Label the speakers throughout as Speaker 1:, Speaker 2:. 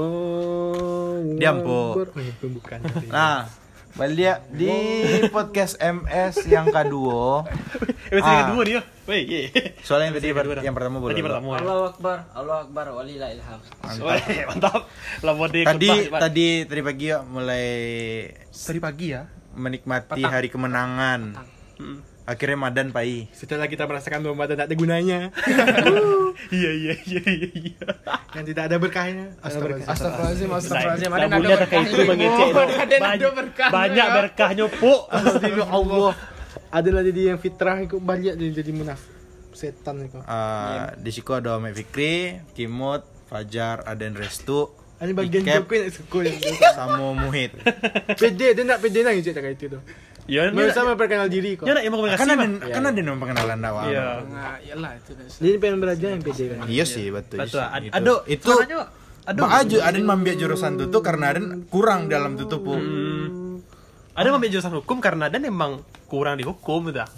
Speaker 1: Allah.
Speaker 2: Diam, Po.
Speaker 1: bukan.
Speaker 2: Nah, balik dia di podcast MS yang kedua.
Speaker 3: Episode
Speaker 2: Ah.
Speaker 3: kedua dia. Woi, ye.
Speaker 2: Soalnya yang tadi
Speaker 3: Episode
Speaker 2: per-
Speaker 3: kedua.
Speaker 2: yang pertama boleh.
Speaker 3: Tadi pertama.
Speaker 4: Allahu Akbar, Allahu Akbar, walillah ilham.
Speaker 3: Woi, mantap. Lama dia
Speaker 2: Tadi
Speaker 3: khutbah.
Speaker 2: tadi tadi pagi ya mulai
Speaker 3: tadi pagi ya.
Speaker 2: menikmati hari kemenangan.
Speaker 3: Hmm.
Speaker 2: Akhirnya Madan Pai. Eh,
Speaker 1: Setelah kita merasakan bahwa mata tak ada gunanya,
Speaker 3: Iya, iya, iya, iya, iya.
Speaker 1: yang tidak ada berkahnya. Astagfirullah.
Speaker 4: Astagfirullahaladzim, astagfirullahaladzim.
Speaker 3: Nah, bunda terkait itu Bang Ece.
Speaker 4: Oh, Raden ada
Speaker 3: Banyak-
Speaker 4: berkahnya.
Speaker 3: Banyak berkahnya, Puk.
Speaker 1: Astagfirullah. Allah. Adalah jadi yang fitrah ikut banyak jadi jadi munafik. Setan itu.
Speaker 3: Iya.
Speaker 2: Ah, di siku ada Mek Fikri, Kimut, Fajar, Aden Restu,
Speaker 1: Ini bagian
Speaker 2: Ikep,
Speaker 1: jokowi nak suku yang
Speaker 2: sama Muhit.
Speaker 1: Pede, dia nak pede nangis cik tak itu tu.
Speaker 3: Ya,
Speaker 1: Baru
Speaker 3: nak-
Speaker 1: sama perkenal diri kok.
Speaker 3: ya nak yang mau
Speaker 2: Kan
Speaker 3: kasih.
Speaker 2: ada kan ada nama pengenalan dakwah.
Speaker 3: Iya.
Speaker 4: Nah, iyalah Ha, itu guys.
Speaker 1: Dia ni pengen belajar yang pede kan.
Speaker 2: Iya sih, betul.
Speaker 3: Betul. Ad-
Speaker 2: Itu-
Speaker 3: aduh,
Speaker 2: itu
Speaker 3: suaranya-
Speaker 2: Aduh. aja Aden mambia jurusan tutup karena Aden kurang dalam tutup. Bu.
Speaker 3: Hmm. Ada memang jurusan hukum karena dan emang kurang dihukum gitu dah.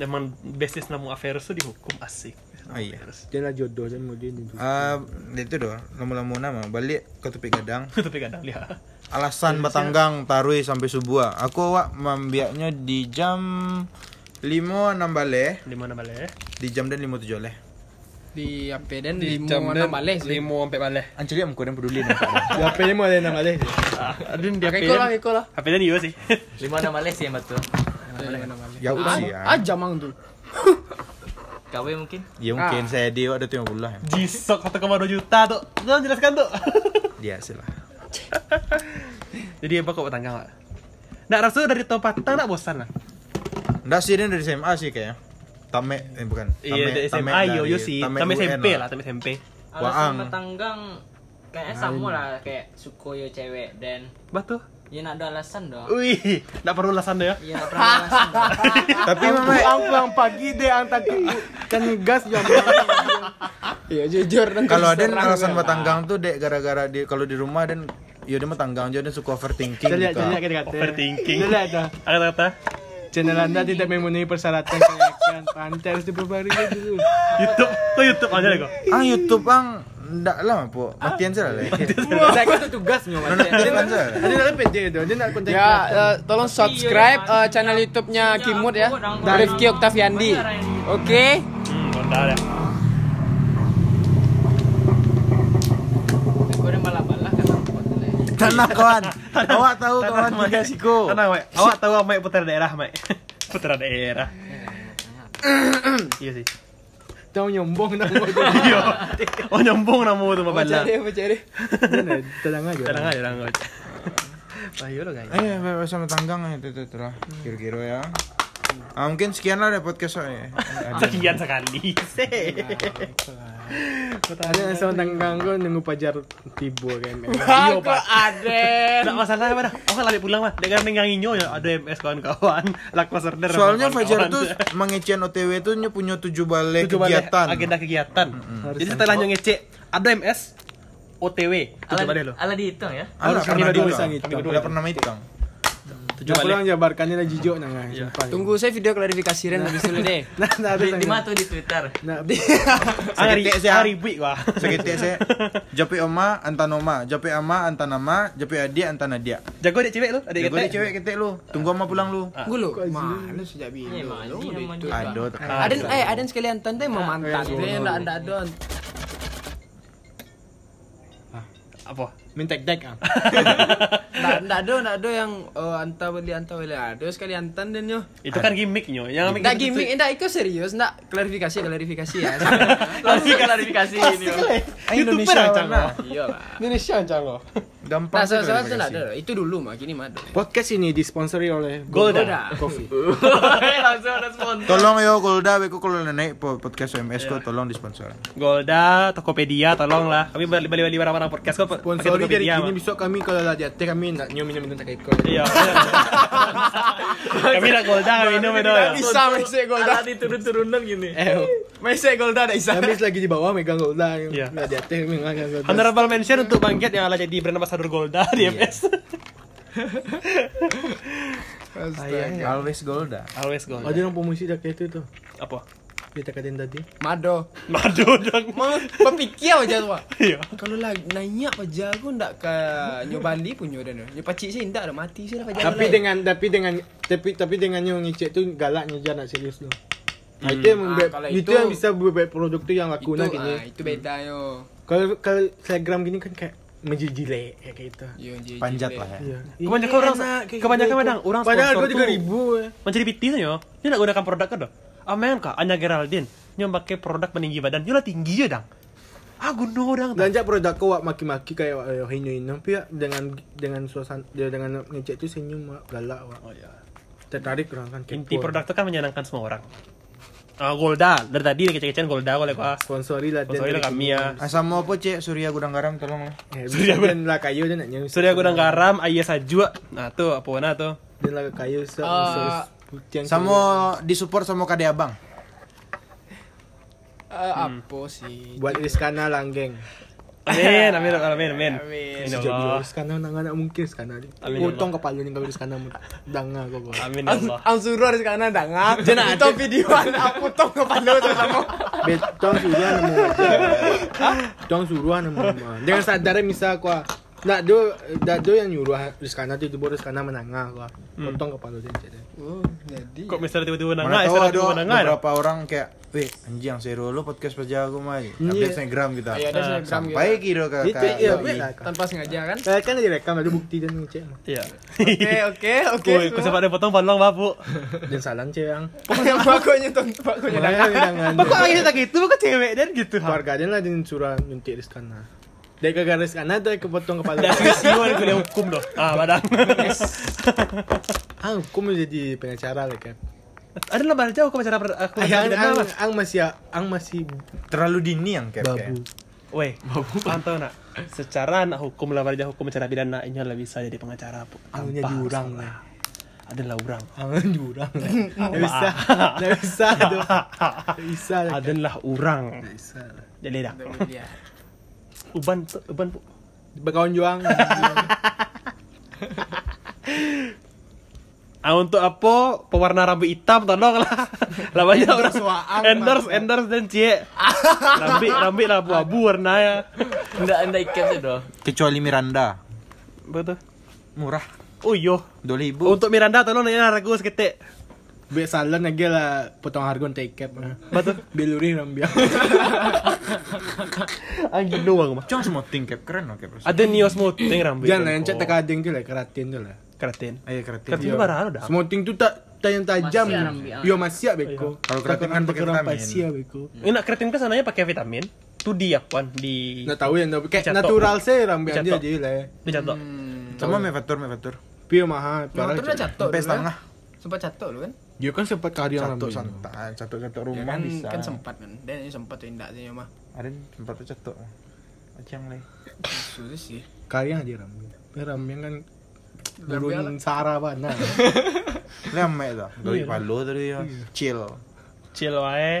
Speaker 3: Emang basis namu affairs tuh dihukum asik.
Speaker 2: Oh, iya.
Speaker 3: Affairs.
Speaker 1: Dia nak jodoh dia mau dia ni.
Speaker 2: Ah, itu doh, lama-lama nama balik ke tepi gadang.
Speaker 3: Tapi kadang lihat.
Speaker 2: Alasan
Speaker 3: Iya,
Speaker 2: batanggang tarui sampai subuh. ah. Aku awak mambiaknya di jam 5 enam bale,
Speaker 3: Di mana balik? eh?
Speaker 2: di jam dan 5 tujuh leh.
Speaker 4: Di apa dan di mana balik sih?
Speaker 3: Limo sampai balik.
Speaker 2: Anjali am kurang peduli nih.
Speaker 1: Ya pede mau ada nama dia.
Speaker 3: Aduh, dia
Speaker 4: Pakai kolah,
Speaker 3: pengen.
Speaker 4: pakai kolah.
Speaker 3: Apa tadi iya sih?
Speaker 5: Lima nama les ya betul.
Speaker 2: ya aku sih
Speaker 3: Ah,
Speaker 2: ya.
Speaker 4: Aja mang tu.
Speaker 5: KW mungkin.
Speaker 2: Ya
Speaker 3: Ah.
Speaker 2: mungkin saya di ada tuh yang pula.
Speaker 3: Jisok 1,2 juta tuh. Jangan jelaskan tuh.
Speaker 2: Ya silah.
Speaker 3: Jadi apa kok tangga Wak? Nak rasa dari tahun patah nak bosan lah.
Speaker 2: Ndak sih ini dari SMA sih kayaknya. Tame eh bukan.
Speaker 3: Iya dari SMA yo yo sih. Tame SMP lah, tame SMP.
Speaker 2: Waang.
Speaker 5: Alasan petanggang kayaknya sama lah kayak suko yo cewek dan
Speaker 3: Batu.
Speaker 5: ya nak ada alasan dong.
Speaker 3: Wih, nak perlu alasan dia.
Speaker 5: Ya nak pernah ada alasan dong.
Speaker 2: Tapi mama
Speaker 1: Pulang pulang pagi dia antar ke kan gas jam.
Speaker 4: Ya jujur dan
Speaker 2: kalau ada alasan matanggang tuh dek gara-gara di kalau di rumah dan ya dia matanggang jadi suka overthinking
Speaker 1: Jadi
Speaker 2: gitu.
Speaker 1: jadi kata kata.
Speaker 3: Overthinking.
Speaker 1: Jadi ada.
Speaker 3: Ada kata.
Speaker 1: Channel Anda tidak memenuhi persyaratan kelayakan. Pantai harus diperbarui dulu.
Speaker 3: YouTube, tuh YouTube aja deh kok.
Speaker 2: Ah YouTube ang ndak lah po matian sih lah.
Speaker 4: Saya itu tugasnya Mas.
Speaker 2: Matian sih.
Speaker 1: Ada nak pede tu. Dia nak kontak.
Speaker 4: Ya, eh, tolong subscribe eh, channel YouTube-nya Kimut ya. Rifki Oktaviandi. Oke.
Speaker 3: Hmm, bentar ya.
Speaker 4: Gue udah malah-malah
Speaker 2: Tenang kawan. Awak tahu kawan juga siku.
Speaker 3: Tenang, Mek. Kan Awak tahu Mek putra daerah, Mek. Putra daerah. Iya sih.
Speaker 1: Tahu nyombong nak.
Speaker 3: Iya. Oh nyombong nama tuh Bapak lah.
Speaker 4: Cari apa cari?
Speaker 1: Tenang aja.
Speaker 3: Tenang aja, tenang aja. Wah, iya lo guys.
Speaker 2: Eh bebas sama tanggang itu itu itu lah kira-kira ya. Ah, mungkin sekian lah deh podcast saya.
Speaker 3: Sekian sekali. Se.
Speaker 1: Ada yang sama tanggang kau nunggu pajar tiba kan.
Speaker 3: Iya,
Speaker 4: Kok ada?
Speaker 3: Tak masalah apa dah. Awak lari pulang lah. Dengan nenganginyo ya ada MS kawan-kawan. Lakwa serder. sama
Speaker 2: Soalnya Fajar
Speaker 3: kawan-kawan.
Speaker 2: tuh mengecehan OTW tuh nye punya tujuh balai
Speaker 3: Tujuh balai
Speaker 2: kegiatan.
Speaker 3: agenda kegiatan. Jadi setelahnya ngecek ada MS OTW tujuh balai
Speaker 5: Ala,
Speaker 3: lo.
Speaker 5: ala dihitung ya.
Speaker 2: Alah,
Speaker 1: Harus
Speaker 2: pernah
Speaker 1: kami berdua
Speaker 2: dihitung.
Speaker 1: bisa ngitung.
Speaker 2: Udah pernah hitung.
Speaker 1: Tujuh
Speaker 3: Tujuh
Speaker 1: Ya.
Speaker 3: balai.
Speaker 1: pulang jabarkannya lah kan. jijok nang.
Speaker 4: Tunggu saya video klarifikasi Ren habis dulu deh.
Speaker 1: Nah, nah ada
Speaker 5: Di, di
Speaker 1: tanggang.
Speaker 5: mana tuh di Twitter?
Speaker 1: Nah,
Speaker 3: Hari
Speaker 2: Seketik sih, ah.
Speaker 3: hari buik wah.
Speaker 2: Sakit ya, saya. Jape oma antanoma, jape ama antanama, jape adi antanadia.
Speaker 3: Jago dek cewek lo, ada
Speaker 2: Jago deh
Speaker 3: ketek.
Speaker 2: cewek ketek lu. Tunggu ama pulang lu.
Speaker 4: Gue lu. Mana
Speaker 5: Ya
Speaker 4: sejak bilang.
Speaker 5: mah ini nama dia.
Speaker 2: Aduh, tekan.
Speaker 4: Aden eh Aden sekalian tante mau mantan. Dia enggak ada don.
Speaker 3: Apa?
Speaker 1: minta dek ah.
Speaker 4: Enggak enggak ada enggak ada yang eh, anta beli anta beli ada sekali antan dan yo.
Speaker 3: Itu kan gimmicknya. Yang
Speaker 4: Enggak gimmick enggak itu serius enggak klarifikasi klarifikasi ya.
Speaker 5: Langsung klarifikasi ini.
Speaker 2: Indonesia warna.
Speaker 4: Iya lah.
Speaker 1: Indonesia ancang kau.
Speaker 2: Gampang.
Speaker 4: Nah,
Speaker 2: sih
Speaker 4: soal soal
Speaker 2: klarifikasi.
Speaker 4: itu enggak ada. Itu dulu mah gini mah ada.
Speaker 1: Podcast ini disponsori oleh
Speaker 3: Golda.
Speaker 1: Coffee.
Speaker 5: Langsung ada sponsor.
Speaker 2: Tolong yo Golda, beko kalau nenek po- podcast MS ko tolong disponsor.
Speaker 3: Golda, Tokopedia, tolonglah. Kami beli beli beli barang-barang podcast kok. pakai
Speaker 1: Sponsori dari
Speaker 3: Tokopedia,
Speaker 1: gini
Speaker 3: Mak.
Speaker 1: besok kami kalau lah jatuh kami nak nyium minum minum tak ikut.
Speaker 3: Iya. Kami nak Golda, kami minum
Speaker 4: Iya,
Speaker 3: itu. ya.
Speaker 4: Bisa mese golda.
Speaker 5: Ala diturun-turunan gini.
Speaker 4: Mese golda ada bisa.
Speaker 1: Kami lagi di bawah megang golda.
Speaker 3: Iya.
Speaker 1: Lah jatuh megang golda.
Speaker 3: Honorable mention untuk Bang Jet yang ala jadi brand ambassador Golda di MS.
Speaker 2: Always Golda.
Speaker 3: Always Golda.
Speaker 1: Ada orang promosi dah kayak itu tuh.
Speaker 3: Apa?
Speaker 1: Dia tekatin tadi.
Speaker 4: Mado.
Speaker 3: Madu dong.
Speaker 4: Mau berfikir aja tu. ah.
Speaker 3: Iya.
Speaker 4: Kalau lah nanya aja aku ndak ke nyo Bali punya dah ni. Nyo pacik saya ndak dah mati saya dah kerja.
Speaker 1: tapi dengan tapi dengan tapi tapi dengan yang ngecek tu galaknya je nak serius tu. Nah,
Speaker 3: Hmm.
Speaker 1: itu yang membuat,
Speaker 4: Ah, kalau
Speaker 1: itu,
Speaker 4: itu-
Speaker 1: yang bisa buat produk tu yang laku nah
Speaker 4: itu, ah,
Speaker 1: gini.
Speaker 4: itu beda yo.
Speaker 1: Kalau kalau Instagram gini kan kayak menjijilek kayak gitu.
Speaker 4: Yo je- je
Speaker 2: Panjat
Speaker 4: boleh.
Speaker 2: lah ya.
Speaker 1: Iya.
Speaker 3: Kebanyakan orang- kebanyakan kadang orang
Speaker 1: Padahal
Speaker 3: sponsor
Speaker 1: dua tiga
Speaker 3: tu-
Speaker 1: ribu. eh.
Speaker 3: Menjadi piti yo. Dia nak gunakan produk ke dah. Amen kah? Anya Geraldine. Nyo pakai produk peninggi badan. Nyo lah tinggi ya dang. Ah guno dang.
Speaker 1: Belanja produk kau wak maki-maki kayak wak eh, henyo ini tapi wak, dengan dengan suasana dia dengan ngecek tu senyum wak galak wak.
Speaker 3: Oh, iya.
Speaker 1: Tertarik orang kan kepo.
Speaker 3: Inti produk itu kan menyenangkan semua orang. Ah Golda, dari tadi nih kece-kecean Golda oleh kok.
Speaker 1: sponsori lah
Speaker 3: Sponsori lah kami ya.
Speaker 2: Asam mau Ah, apa cek Surya Gudang Garam tolong lah.
Speaker 1: Eh,
Speaker 3: Surya Gudang-
Speaker 1: dan lah kayu dia nak nyanyi.
Speaker 3: Surya Gudang Garam, Ayah Sajua. Nah tuh apa nah tuh.
Speaker 1: Dan lah kayu se
Speaker 4: Ah.
Speaker 1: se- putih yang
Speaker 2: Sama disupport sama Kade Abang.
Speaker 4: Eh, apa sih?
Speaker 1: kulit. buat Rizkana lah geng.
Speaker 3: Amin, amin, amin, amin.
Speaker 4: Amin.
Speaker 3: Amin. ya
Speaker 1: Sejak
Speaker 3: Allah.
Speaker 1: Rizkana nang anak mungkin Rizkana.
Speaker 3: Amin,
Speaker 1: Potong kepala ni kalau Rizkana danga kau. kau.
Speaker 3: Amin ya
Speaker 4: Ang,
Speaker 3: Allah.
Speaker 4: ang suruh harus kanan dah ngap. Jangan itu video anak potong kepala tu sama.
Speaker 1: Betong suruhan nama wajah. Betong suruhan nama mama. Dengan sadar misal kau. Nak do dak do yang nyuruh Rizkana tu tiba Rizkana menangah kau. Potong kepala dia jadi.
Speaker 4: Oh, jadi.
Speaker 3: Kok misalnya tiba-tiba
Speaker 2: Iya. Mana
Speaker 3: nangga,
Speaker 2: tahu
Speaker 3: istilah
Speaker 2: ada
Speaker 3: tiba-tiba ya? nangga. ada.
Speaker 2: beberapa orang kayak, weh anjing Sero lu podcast pajak aku mai. Update Instagram kita.
Speaker 4: Ya, ada Instagram
Speaker 2: Ah, Sampai kira ke
Speaker 1: Itu
Speaker 2: ke-
Speaker 1: iya
Speaker 4: kita.
Speaker 1: bet lah. kau.
Speaker 4: Tanpa sengaja kan? Eh,
Speaker 1: Eh, kan direkam ada bukti dan ngecek. mah.
Speaker 3: Iya.
Speaker 4: Okey, okey, okey.
Speaker 3: Oke, kok sempat ada potong balong babu.
Speaker 1: Dan salam cewek ang.
Speaker 4: Pokoknya tonton, pokoknya dah ngap.
Speaker 3: Pak kok akhirnya tak gitu, kok cewek dan gitu. ha?
Speaker 1: Keluarga dia lah dia suruh nyuntik Rizkana. Dia gagal Rizkana dia kepotong kepala.
Speaker 3: Dan
Speaker 1: dia.
Speaker 3: siwa di kuliah hukum loh. Ah, badang.
Speaker 1: Ang hukum jadi pengacara lah kan.
Speaker 3: Ada lebar jauh kok bicara aku
Speaker 1: Ang,
Speaker 3: bicara
Speaker 1: ang,
Speaker 3: apa?
Speaker 1: ang masih ang masih
Speaker 2: terlalu dini yang kayak
Speaker 1: babu.
Speaker 2: kayak.
Speaker 3: Weh, pantau nak. Secara nak hukum lah aja hukum secara pidana ini lah bisa jadi pengacara. Bu.
Speaker 1: Angnya
Speaker 3: Tanpa
Speaker 1: diurang
Speaker 3: masalah.
Speaker 1: lah.
Speaker 3: Adalah urang.
Speaker 1: Angan diurang. Enggak bisa. Enggak bisa tuh. Enggak bisa. lah, kan.
Speaker 3: Adalah urang.
Speaker 1: Nggak bisa. lah.
Speaker 3: Jadi dah. Uban tu- uban bu.
Speaker 1: Bakawan juang.
Speaker 3: Ah untuk apa pewarna rambut hitam tolong lah. Lah banyak orang
Speaker 4: Endorse waang,
Speaker 3: endorse
Speaker 4: Mas.
Speaker 3: endorse dan cie. Rambut rambut lah abu-abu ya. warnanya.
Speaker 5: Ndak ndak ikat sih doh.
Speaker 2: Kecuali Miranda.
Speaker 3: Betul.
Speaker 2: Murah.
Speaker 3: Oh yo.
Speaker 2: 2000.
Speaker 3: Untuk Miranda tolong nanya ragu seketik.
Speaker 1: Biar salah lagi lah potong harga take cap.
Speaker 3: Betul.
Speaker 1: Beluri rambiang.
Speaker 3: Angin doang mah.
Speaker 2: Cuma semua ting kayak keren loh kayak.
Speaker 3: Ada neo smoothing rambut. Oh,
Speaker 1: Jangan lah yang cek tekading tu lah, keratin tu lah.
Speaker 3: keratin.
Speaker 2: Ayo keratin.
Speaker 3: Keratin barang udah.
Speaker 1: Smoking tu tak tak yang tajam.
Speaker 5: Masih rambiang.
Speaker 1: Yo masih beko.
Speaker 2: Kalau keratin kan pakai
Speaker 1: Kerang
Speaker 2: vitamin.
Speaker 1: pasir beko.
Speaker 3: Ini nak keratin kan sananya pakai vitamin. Tu dia kan di
Speaker 1: Nak tahu yang dah- kayak
Speaker 3: Dicatok.
Speaker 1: natural saya rambiang dia
Speaker 3: Dicatok.
Speaker 1: je lah.
Speaker 3: di contoh.
Speaker 4: Hmm.
Speaker 2: Sama mevatur mevatur.
Speaker 1: Pio mahal.
Speaker 4: Motor dah
Speaker 2: Sampai
Speaker 4: catok dulu kan?
Speaker 2: setengah.
Speaker 4: Sempat catok dulu kan?
Speaker 1: Dia kan sempat karya
Speaker 2: Satu
Speaker 1: rambiang.
Speaker 2: santai, satu satu
Speaker 4: Ya
Speaker 2: rumah
Speaker 4: kan,
Speaker 2: Iya bisa.
Speaker 4: kan sempat kan. Dan ini sempat tu indak saya mah.
Speaker 2: Ada tempat tuh cetok. Acang leh.
Speaker 4: Susah sih.
Speaker 1: Karya dia rambiang. Dia rambiang kan nah.
Speaker 4: Rambiang
Speaker 1: Burun Sarah mana?
Speaker 2: Leh amek dah. Dari palo dari ya. Chill.
Speaker 3: Chill wae.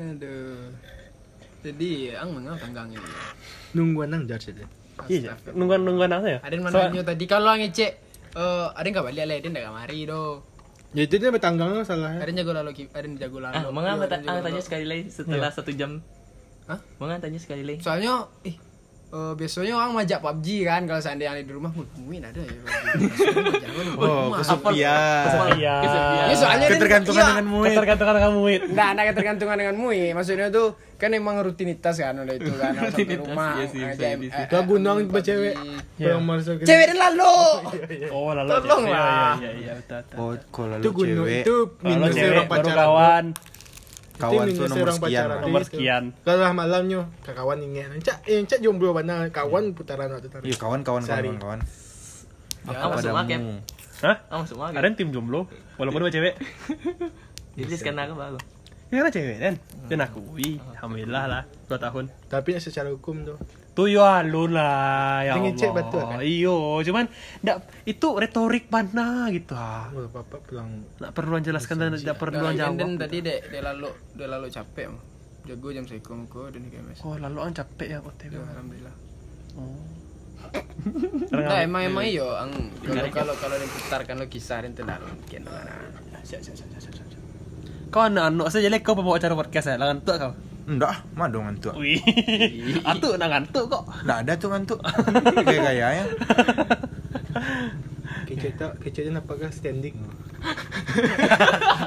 Speaker 4: Aduh. Jadi, ang mengapa tanggang ini?
Speaker 1: Nunggu nang jar saja.
Speaker 3: Iya. Nungguan nungguan apa ya?
Speaker 4: Ada yang mana nyo tadi kalau ang ngecek eh ada yang balik lah, ada yang dah kamari do.
Speaker 1: Ya itu dia bertanggang salah.
Speaker 4: Ada yang jago lalu, ada yang jago lalu.
Speaker 5: Ah, mengang
Speaker 4: Yo, ada yang jago
Speaker 5: tanya
Speaker 4: lalu.
Speaker 5: sekali lagi setelah satu jam.
Speaker 4: Hah?
Speaker 5: Mengang tanya sekali lagi.
Speaker 4: Soalnya eh eh, biasanya orang majak PUBG kan kalau seandainya yang di rumah mu- mungkin ada ya.
Speaker 2: Oh, kesepian.
Speaker 3: Iya.
Speaker 4: Ya soalnya dia-
Speaker 2: Ketergantungan
Speaker 4: iya.
Speaker 2: dengan muid.
Speaker 3: Ketergantungan kamu Wid.
Speaker 4: Nggak ada ketergantungan dengan MUI Maksudnya tuh Kan emang rutinitas kan Udah itu kan orang Sampai rumah
Speaker 5: iya sih,
Speaker 4: ngajak-
Speaker 5: bisa
Speaker 4: eh,
Speaker 1: Itu aku nang
Speaker 4: PUBG.
Speaker 1: cewek.
Speaker 3: Iya.
Speaker 1: Yang masa kita-
Speaker 4: Cewek dia lalu
Speaker 3: Oh lalu.
Speaker 4: Tolong
Speaker 3: Iya, Iya
Speaker 4: lah.
Speaker 3: iya iya betul. betul.
Speaker 2: Oh, kalau
Speaker 1: itu
Speaker 2: lu
Speaker 1: gunung
Speaker 2: cewek,
Speaker 1: itu
Speaker 3: Kalau
Speaker 1: minusnya
Speaker 3: cewek
Speaker 1: orang
Speaker 3: baru
Speaker 1: pacaran.
Speaker 3: kawan.
Speaker 1: Itu
Speaker 2: kawan tuh
Speaker 1: minusnya
Speaker 2: nomor
Speaker 1: orang
Speaker 2: sekian.
Speaker 1: pacaran.
Speaker 2: Bang.
Speaker 3: Nomor
Speaker 1: Iya,
Speaker 3: sekian.
Speaker 1: Kalau lah malamnya ke kawan ingat. Cak, eh cak jomblo mana? Kawan putaran waktu tadi.
Speaker 2: Iya, kawan kawan
Speaker 1: Sehari.
Speaker 2: kawan kawan.
Speaker 5: Ah, masuk maghrib.
Speaker 2: Padamu.
Speaker 3: Hah?
Speaker 5: Ah, masuk
Speaker 3: Ada
Speaker 5: maghrib.
Speaker 3: yang tim jomblo walaupun dia cewek.
Speaker 5: Jadi karena aku baru.
Speaker 3: Ya karena cewek kan. Dan aku, wih, alhamdulillah lah 2 tahun.
Speaker 1: Tapi secara hukum tuh.
Speaker 3: Tuh yo alun lah
Speaker 1: Dia
Speaker 3: ya Allah.
Speaker 1: ngecek betul kan?
Speaker 3: Iyo, cuman ndak itu retorik mana gitu ah.
Speaker 1: Wah, bapak pulang.
Speaker 3: Nggak perlu jelaskan dan nggak perlu
Speaker 4: Nah,
Speaker 3: jawab.
Speaker 4: Dan tadi dek Dia lalu Dia lalu capek Mo. Jago jam sekom ko Dan dia MS
Speaker 3: Oh, lalu an capek ya OTW.
Speaker 4: Ya, Alhamdulillah
Speaker 3: Orang
Speaker 4: Nah
Speaker 3: nggak-
Speaker 4: emang emang
Speaker 5: Iya.
Speaker 4: iyo ang kalau kalau kalau diputarkan lo kisah dan tenar mungkin lah.
Speaker 3: Siap, siap, siap, siap, siap, siap. Kau anak-anak saja jelek kau bawa acara podcast ya, lah ngantuk kau.
Speaker 2: Enggak, mah dong ngantuk.
Speaker 3: Wih. Atuk nak ngantuk kok.
Speaker 2: Enggak ada tuh ngantuk. ya. Kayak kayaknya.
Speaker 1: Keceta, keceta apakah kan standing?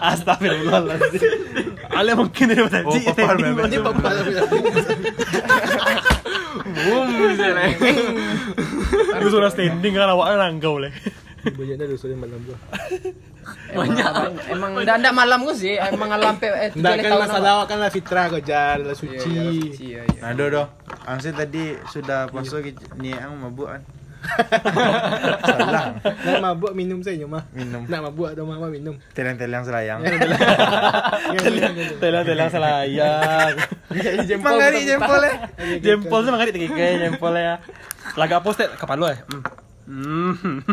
Speaker 3: Astagfirullahaladzim. Ale mungkin dari mata
Speaker 2: Oh, papal memang.
Speaker 1: Ini papa
Speaker 5: Boom misalnya.
Speaker 3: Lu sudah standing kan awak nanggau leh.
Speaker 1: Bojanya udah sore malam gua.
Speaker 4: Banyak. Emang ndak ndak malam gua sih. Emang alam pe eh
Speaker 1: Enggak kan
Speaker 4: tahun
Speaker 1: masalah awak kan lah fitrah kau jar, lah suci.
Speaker 4: Iya, iya.
Speaker 2: Nah, do do. Angsi tadi sudah paso ni ang mabuk kan. Salah.
Speaker 1: Lah, Nak mabuk minum saja mah.
Speaker 2: Minum.
Speaker 1: Nak mabuk atau mama minum.
Speaker 2: Telang-telang selayang.
Speaker 3: Telang-telang selayang.
Speaker 2: Mangari jempol eh.
Speaker 3: Jempol sama kali tinggi kayak jempol ya. Laga apa stet? Kapan lu eh? Hmm. Hmm.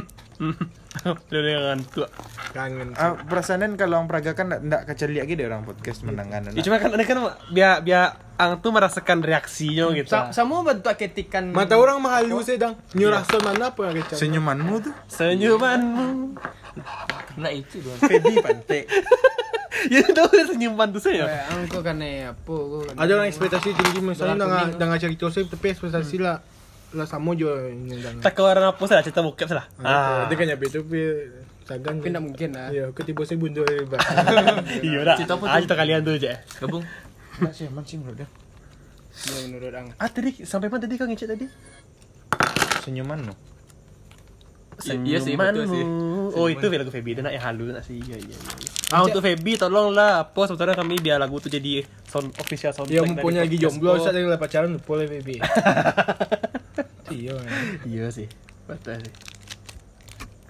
Speaker 3: Lu dengan ngantuk.
Speaker 1: Kangen.
Speaker 2: Ah, perasaan kalau orang Praga kan ndak keceli lagi deh orang podcast menangan.
Speaker 3: Ya, cuma kan ini kan biar biar ang tuh merasakan reaksinya gitu.
Speaker 4: Sa- Sama bentuk ketikan.
Speaker 1: Mata orang mahalu sedang. Nyurah yeah. mana apa yang kecap.
Speaker 2: Senyumanmu tuh
Speaker 3: Senyumanmu.
Speaker 5: Nah itu dong.
Speaker 2: Feby pantai.
Speaker 3: Ya tahu senyuman tuh saya.
Speaker 4: Eh, Angko kan eh apa gua. kan-
Speaker 1: Ada orang ekspektasi tinggi misalnya
Speaker 4: Dolar
Speaker 1: dengan
Speaker 4: kuning.
Speaker 1: dengan cerita saya tapi ekspektasi lah lah sama je ini dengan.
Speaker 3: Tak keluar apa salah cerita bokep salah.
Speaker 1: Ah,
Speaker 3: Ah.
Speaker 1: dia kan nyabit tu pi sagan.
Speaker 4: Tapi ndak mungkin lah.
Speaker 1: Ya, aku tiba saya bundur hebat.
Speaker 3: Iya dah.
Speaker 5: Cerita apa
Speaker 3: Ah
Speaker 5: tuh?
Speaker 3: cerita kalian dulu je.
Speaker 5: Gabung.
Speaker 2: Enggak sih, emang sih menurut dia.
Speaker 4: Ya, menurut Ang.
Speaker 3: Ah tadi sampai mana tadi kau ngecek tadi?
Speaker 2: Senyumanmu.
Speaker 5: Iya sih, betul sih.
Speaker 3: Senyumanmu. Oh itu lagu Feby dia nak yang halu nak sih. Iya iya. iya. Ah untuk Feby tolonglah apa sebenarnya kami biar lagu tu jadi sound official sound.
Speaker 1: Ya, mempunyai lagi jomblo Ustaz dengan pacaran boleh baby. Iya. eh.
Speaker 3: Iya sih. Betul sih.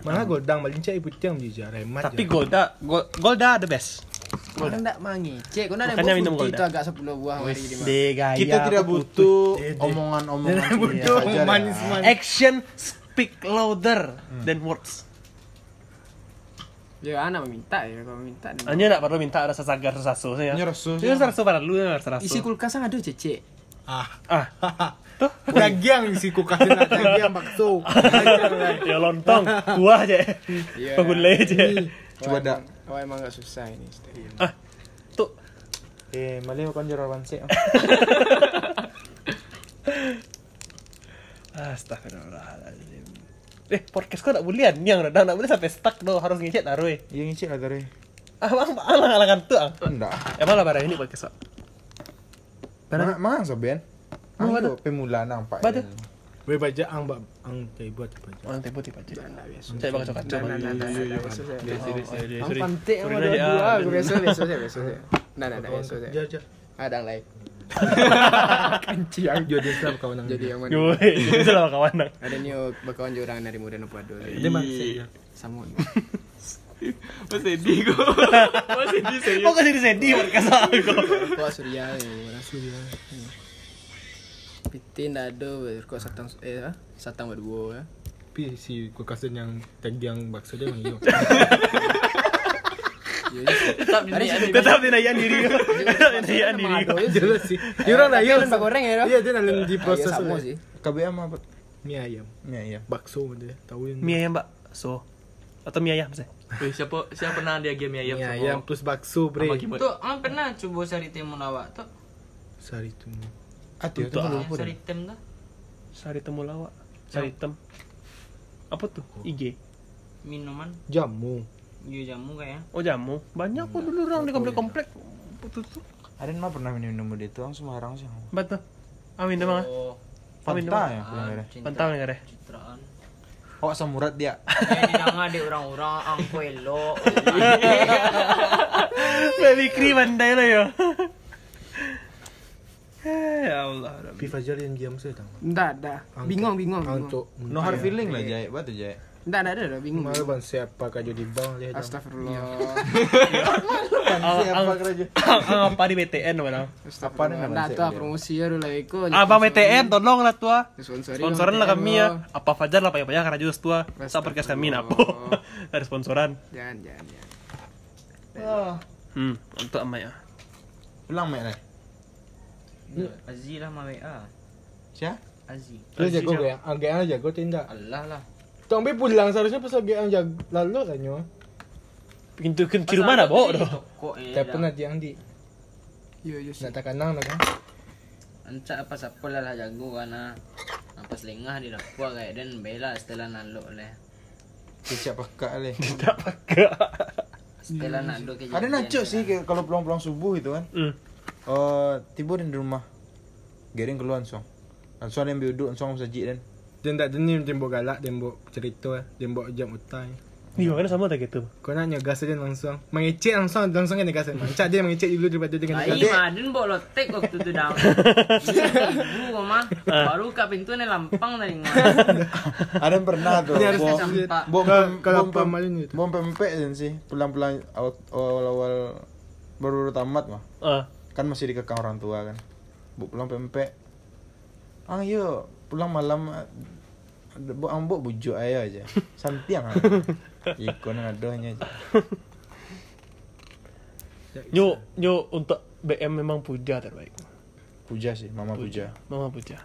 Speaker 1: Mana godang maling cai putih yang bija remat.
Speaker 3: Tapi Golda Gol- Golda the best.
Speaker 4: Kau ndak mangicek. Kau ndak ada
Speaker 3: Makanya minum
Speaker 4: minum
Speaker 3: Golda.
Speaker 4: itu agak 10 buah hari di mana.
Speaker 3: De Nah. gaya.
Speaker 2: Kita tidak
Speaker 3: apa putih.
Speaker 2: butuh
Speaker 1: Dede.
Speaker 2: omongan-omongan.
Speaker 1: Tidak butuh
Speaker 2: Iya, wajar
Speaker 1: manis
Speaker 2: ya.
Speaker 1: manis.
Speaker 3: Action speak louder than words.
Speaker 4: Ya anak minta ya, kau minta. ni.
Speaker 3: Hmm. Hanya nak perlu minta rasa sagar rasa susu ya.
Speaker 2: Ini resus,
Speaker 3: Ini rasa susu pada lu ya rasa susu.
Speaker 4: Isi kulkas ada cecek.
Speaker 1: Ah.
Speaker 3: Ah. Tuh.
Speaker 1: Dagang si kulkas nak dagang bakso.
Speaker 3: ya lontong, buah aja.
Speaker 4: Iya.
Speaker 3: Bangun leh aja.
Speaker 2: Coba dah.
Speaker 4: Kau emang agak susah ini.
Speaker 3: Tuh.
Speaker 2: Eh, malah kau jorok wansek.
Speaker 3: Astagfirullahaladzim. Eh, podcast kau nak bulian? Yang dah nak boleh sampai stuck doh harus ngecek Ah, taruh. eh.
Speaker 2: Iya ngicik lah tadi.
Speaker 3: Abang alang alangan tuh. ah.
Speaker 2: Enggak.
Speaker 3: Emang lah barang ini podcast. ah.
Speaker 2: Mana mana soben?
Speaker 3: Mau
Speaker 2: Ayo pemula nampak.
Speaker 3: Batu.
Speaker 2: ini.
Speaker 1: Wei baca ang bak ang kai buat baca.
Speaker 3: Orang tempo tipe aja. Saya bakal coba coba.
Speaker 4: Ang pantik yang ada dua. Aku biasa biasa saya biasa saya. Nah, nah, nah, biasa saya.
Speaker 1: Ja ja.
Speaker 4: Ada yang lain.
Speaker 1: Kanci ang jodoh Islam kawan ang.
Speaker 4: Jadi yang mana?
Speaker 3: Gue, itu eh, lah kawan nang.
Speaker 4: Ada ni oh, bakawan jurang dari Modern Puado.
Speaker 1: Dia masih.
Speaker 4: Sama.
Speaker 5: Mas sedih kok. Mas sedih serius.
Speaker 3: Kok jadi sedih podcast aku?
Speaker 4: Kau Surya ni, mana Surya. Piti ndak ada ber- kau satang eh ah, satang berdua ya.
Speaker 1: Pi si kulkas yang dagang bakso dia mang iyo.
Speaker 4: Ya, ya.
Speaker 5: Tetap di
Speaker 4: Ada
Speaker 5: sini.
Speaker 4: sih.
Speaker 3: Tetap dinaikkan diri. kau. Tetap dinaikkan diri. kau.
Speaker 1: Jelas sih. Dia orang lah
Speaker 4: Tapi
Speaker 1: iyo.
Speaker 4: kan bak goreng ya, Roh?
Speaker 1: Iya dia nalen di
Speaker 4: Ah, ya,
Speaker 1: proses.
Speaker 4: sama
Speaker 1: oleh.
Speaker 4: sih.
Speaker 2: KBM apa?
Speaker 1: Mie ayam,
Speaker 2: Ya iya.
Speaker 1: bakso dia. Tahu yang
Speaker 3: Mie ayam mbak So Atau mie ayam misalnya
Speaker 5: Wih, Eh, siapa siapa pernah dia game ayam?
Speaker 1: Mie
Speaker 5: sama-
Speaker 1: ayam plus bakso
Speaker 5: sama
Speaker 1: bre.
Speaker 5: game- Tuh, am ah, pernah coba cari timun awak tuh.
Speaker 1: Sari tu.
Speaker 2: Ati itu
Speaker 5: Yang
Speaker 2: Ah, apa?
Speaker 5: Cari tim tuh.
Speaker 3: ah. Sari temulawak Sari tem Apa tuh? IG
Speaker 5: Minuman,
Speaker 1: Jamu.
Speaker 5: iya jamu ya. kayaknya.
Speaker 3: Oh jamu Banyak ya. kok dulu orang di komplek-komplek Putus tuh
Speaker 2: Ada mah pernah minum-minum di tuang Semarang sih.
Speaker 3: Bat tuh Amin ah. deh mang
Speaker 5: Oh,
Speaker 3: Amin deh
Speaker 2: Fanta
Speaker 3: mang
Speaker 2: ya pulang dari.
Speaker 5: cinta-
Speaker 3: Pantau nih kare
Speaker 5: Citraan.
Speaker 2: Oh samurat dia.
Speaker 5: Eh, di nama ada orang-orang angko elok.
Speaker 3: Baby kri bandai lo yo Eh, Ya Allah Rabbi.
Speaker 1: Pi Fajar yang diam saya tahu.
Speaker 4: Ndak ada. Bingung bingung. bingung.
Speaker 1: Untuk
Speaker 2: No hard feeling lah jaya, batu jaya.
Speaker 4: Ndak ndak ada dah, bingung.
Speaker 1: Malu ban siapa kau jadi bang
Speaker 4: ya.
Speaker 1: lihat.
Speaker 4: Astagfirullah.
Speaker 3: Ang- ang- ang apa di BTN mana?
Speaker 4: Astagfirullah. Ndak ada promosi ya lah Eko.
Speaker 3: Abang BTN tolong lah tua.
Speaker 4: Sponsorin
Speaker 3: Sponsoran lah
Speaker 4: BTN,
Speaker 3: kami ya.
Speaker 4: loh.
Speaker 3: Apa Fajar lah payah-payah karena jus tua. Sa podcast kami napo. Dari sponsoran.
Speaker 4: Jangan jangan. jangan.
Speaker 3: Hmm, untuk ama ya.
Speaker 2: Pulang mek lah.
Speaker 5: Aziz lah sama WA.
Speaker 2: Sia?
Speaker 5: Aziz.
Speaker 1: Lu jago gak ya? Ah, GA jago tindak.
Speaker 5: Allah lah.
Speaker 1: Tong pi pulang seharusnya pas GA jago lalu lah nyo.
Speaker 3: Pintu kunci rumah nak bawa doh.
Speaker 5: eh, lah.
Speaker 1: Telepon nanti yang di
Speaker 4: Yo yo sih.
Speaker 1: nak tak lah, kan? kanang nak.
Speaker 5: Ancak apa siapa lah lah jago karena apa selingah di dapur kayak dan bela setelah nalok leh.
Speaker 2: Kecap pakak leh.
Speaker 3: Tak pakai.
Speaker 5: Setelah
Speaker 6: Hmm.
Speaker 5: nak duduk
Speaker 2: Ada
Speaker 5: lah.
Speaker 2: naco sih kayak kalau pulang-pulang subuh itu kan.
Speaker 3: Hmm.
Speaker 2: Oh, tiba di rumah. Garing keluar langsung. Langsung ada yang duduk langsung saji dan.
Speaker 1: Dia tak denim dia buat galak, dia buat cerita, dia buat jam utai.
Speaker 3: Ni makanya sama tak gitu.
Speaker 1: Kau nak nyegas dia langsung. Mengecek langsung langsung kan nyegas. Macam dia mengecek dulu daripada dia kena
Speaker 5: Ai
Speaker 1: nyegas.
Speaker 5: madin ah, bawa lotek waktu tu dah. Ibu mama
Speaker 6: Ah.
Speaker 5: baru buka pintu ni lampang tadi. ah.
Speaker 2: Ada yang pernah tuh.
Speaker 1: Dia harus
Speaker 2: Bom
Speaker 5: Campak.
Speaker 2: bom
Speaker 1: Kalau- kalau gitu.
Speaker 2: bom- bom
Speaker 1: pamalin itu.
Speaker 2: bom pempek dan sih. Pelan-pelan awal- awal-awal baru tamat mah.
Speaker 3: Ah.
Speaker 2: Kan masih dikekang orang tua kan. Bu pulang pempek. Ah yo, pulang malam ah, Bu ambok bujuk ayah aja. Santiang. ah. Ikon ngadohnya aja.
Speaker 3: Nyo nyo untuk BM memang puja terbaik.
Speaker 2: Puja sih, Mama Puja.
Speaker 3: Mama puja.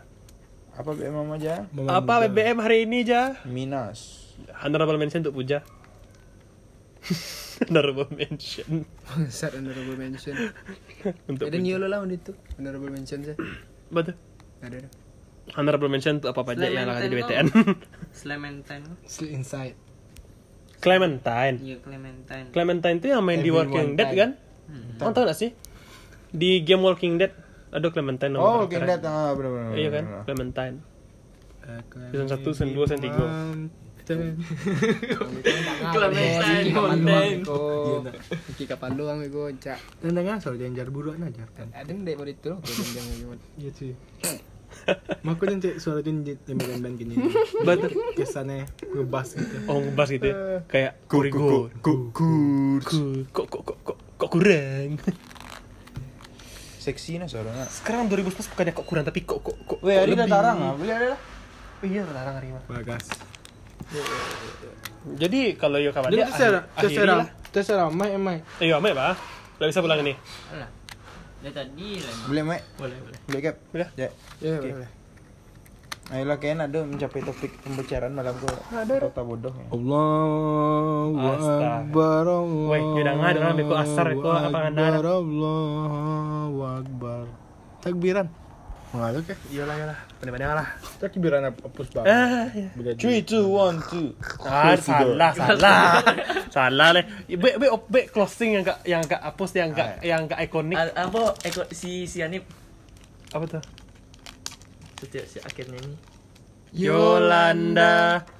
Speaker 2: Apa BM Mama aja?
Speaker 3: Apa BM hari ini ja?
Speaker 2: Minas.
Speaker 3: Honorable mention untuk puja. Honorable mention
Speaker 4: Set honorable mention.
Speaker 3: untuk
Speaker 4: Ada
Speaker 3: puja.
Speaker 4: Nio lah waktu itu. Honorable mention saya.
Speaker 3: Betul.
Speaker 4: Ada ada.
Speaker 3: Honorable mention untuk apa-apa aja
Speaker 5: Selain
Speaker 3: yang lakukan di BTN.
Speaker 5: Valentine Clementine.
Speaker 1: Sleep inside.
Speaker 3: Clementine.
Speaker 5: Iya Clementine.
Speaker 3: Clementine itu yang main di
Speaker 1: Everyone
Speaker 3: Walking Dead
Speaker 1: time.
Speaker 3: kan? Kamu tahu gak sih? Di game Walking Dead ada Clementine nama
Speaker 2: Oh,
Speaker 3: karakternya.
Speaker 2: Walking Dead. Ah, benar benar.
Speaker 3: Iya kan?
Speaker 2: benar, benar.
Speaker 3: Clementine.
Speaker 1: Eh,
Speaker 3: Season satu, season dua, season tiga.
Speaker 4: Nah, Iya,
Speaker 5: Clementine Mountain.
Speaker 4: Iki kapan lu ang gue cak.
Speaker 1: Dan dengar soal lah, dia yang jar buruan aja kan.
Speaker 4: Ada yang dari itu loh.
Speaker 1: Iya Ya, cuy. Maka dia cek suara dia dia makan gini.
Speaker 3: Betul.
Speaker 1: Kesannya ngebas gitu.
Speaker 3: Oh, ngebas gitu ya. Kayak
Speaker 2: Eh. Ku- ku-
Speaker 3: kurigo.
Speaker 2: ku- ku- ku-
Speaker 3: Ku, kok kok kok kok kok kurang.
Speaker 2: Seksi nah suaranya.
Speaker 3: Sekarang 2011 bukannya kok kurang tapi kok kok kok.
Speaker 2: Weh, hari dah tarang ah. Beli ada lah.
Speaker 3: Iya, larang Rima.
Speaker 1: Bagas.
Speaker 3: Jadi kalau yo kawan
Speaker 1: Dia
Speaker 3: dia
Speaker 1: terserah,
Speaker 3: akhir-
Speaker 1: terserah,
Speaker 3: akhiri
Speaker 1: terserah. Mai, mai.
Speaker 3: lah. Ayo, ame bah. Gak bisa pulang ini.
Speaker 5: Alah. Dia tadi lah.
Speaker 2: Boleh, Mek.
Speaker 3: Boleh, boleh.
Speaker 2: Boleh, Cap.
Speaker 3: Boleh.
Speaker 2: Ya.
Speaker 4: Iya,
Speaker 1: Ya,
Speaker 2: Okey.
Speaker 1: boleh.
Speaker 2: Ayolah kayaknya ada mencapai topik pembicaraan malam kau. Ada. Kota bodoh ya.
Speaker 3: Oh,
Speaker 1: Allahu
Speaker 3: Astaga.
Speaker 1: Akbar Allah.
Speaker 3: Ah. Weh, dia dengar, dia orang beko asar, beko apa ngandar.
Speaker 1: Allahu Akbar. Takbiran. Mengalir ke?
Speaker 3: Iyalah, iyalah. Benar-benar lah.
Speaker 1: Takbiran apa pus banget.
Speaker 3: Ah, iya.
Speaker 1: Cuy,
Speaker 2: 3 2 1 2.
Speaker 3: Ah, salah, salah. salah leh. Be be be closing yang gak yang gak hapus yang gak yang gak ikonik.
Speaker 6: Al- apa Ah, ekor si si Anip
Speaker 3: Apa tuh?
Speaker 6: setiap si akhirnya ini
Speaker 3: Yolanda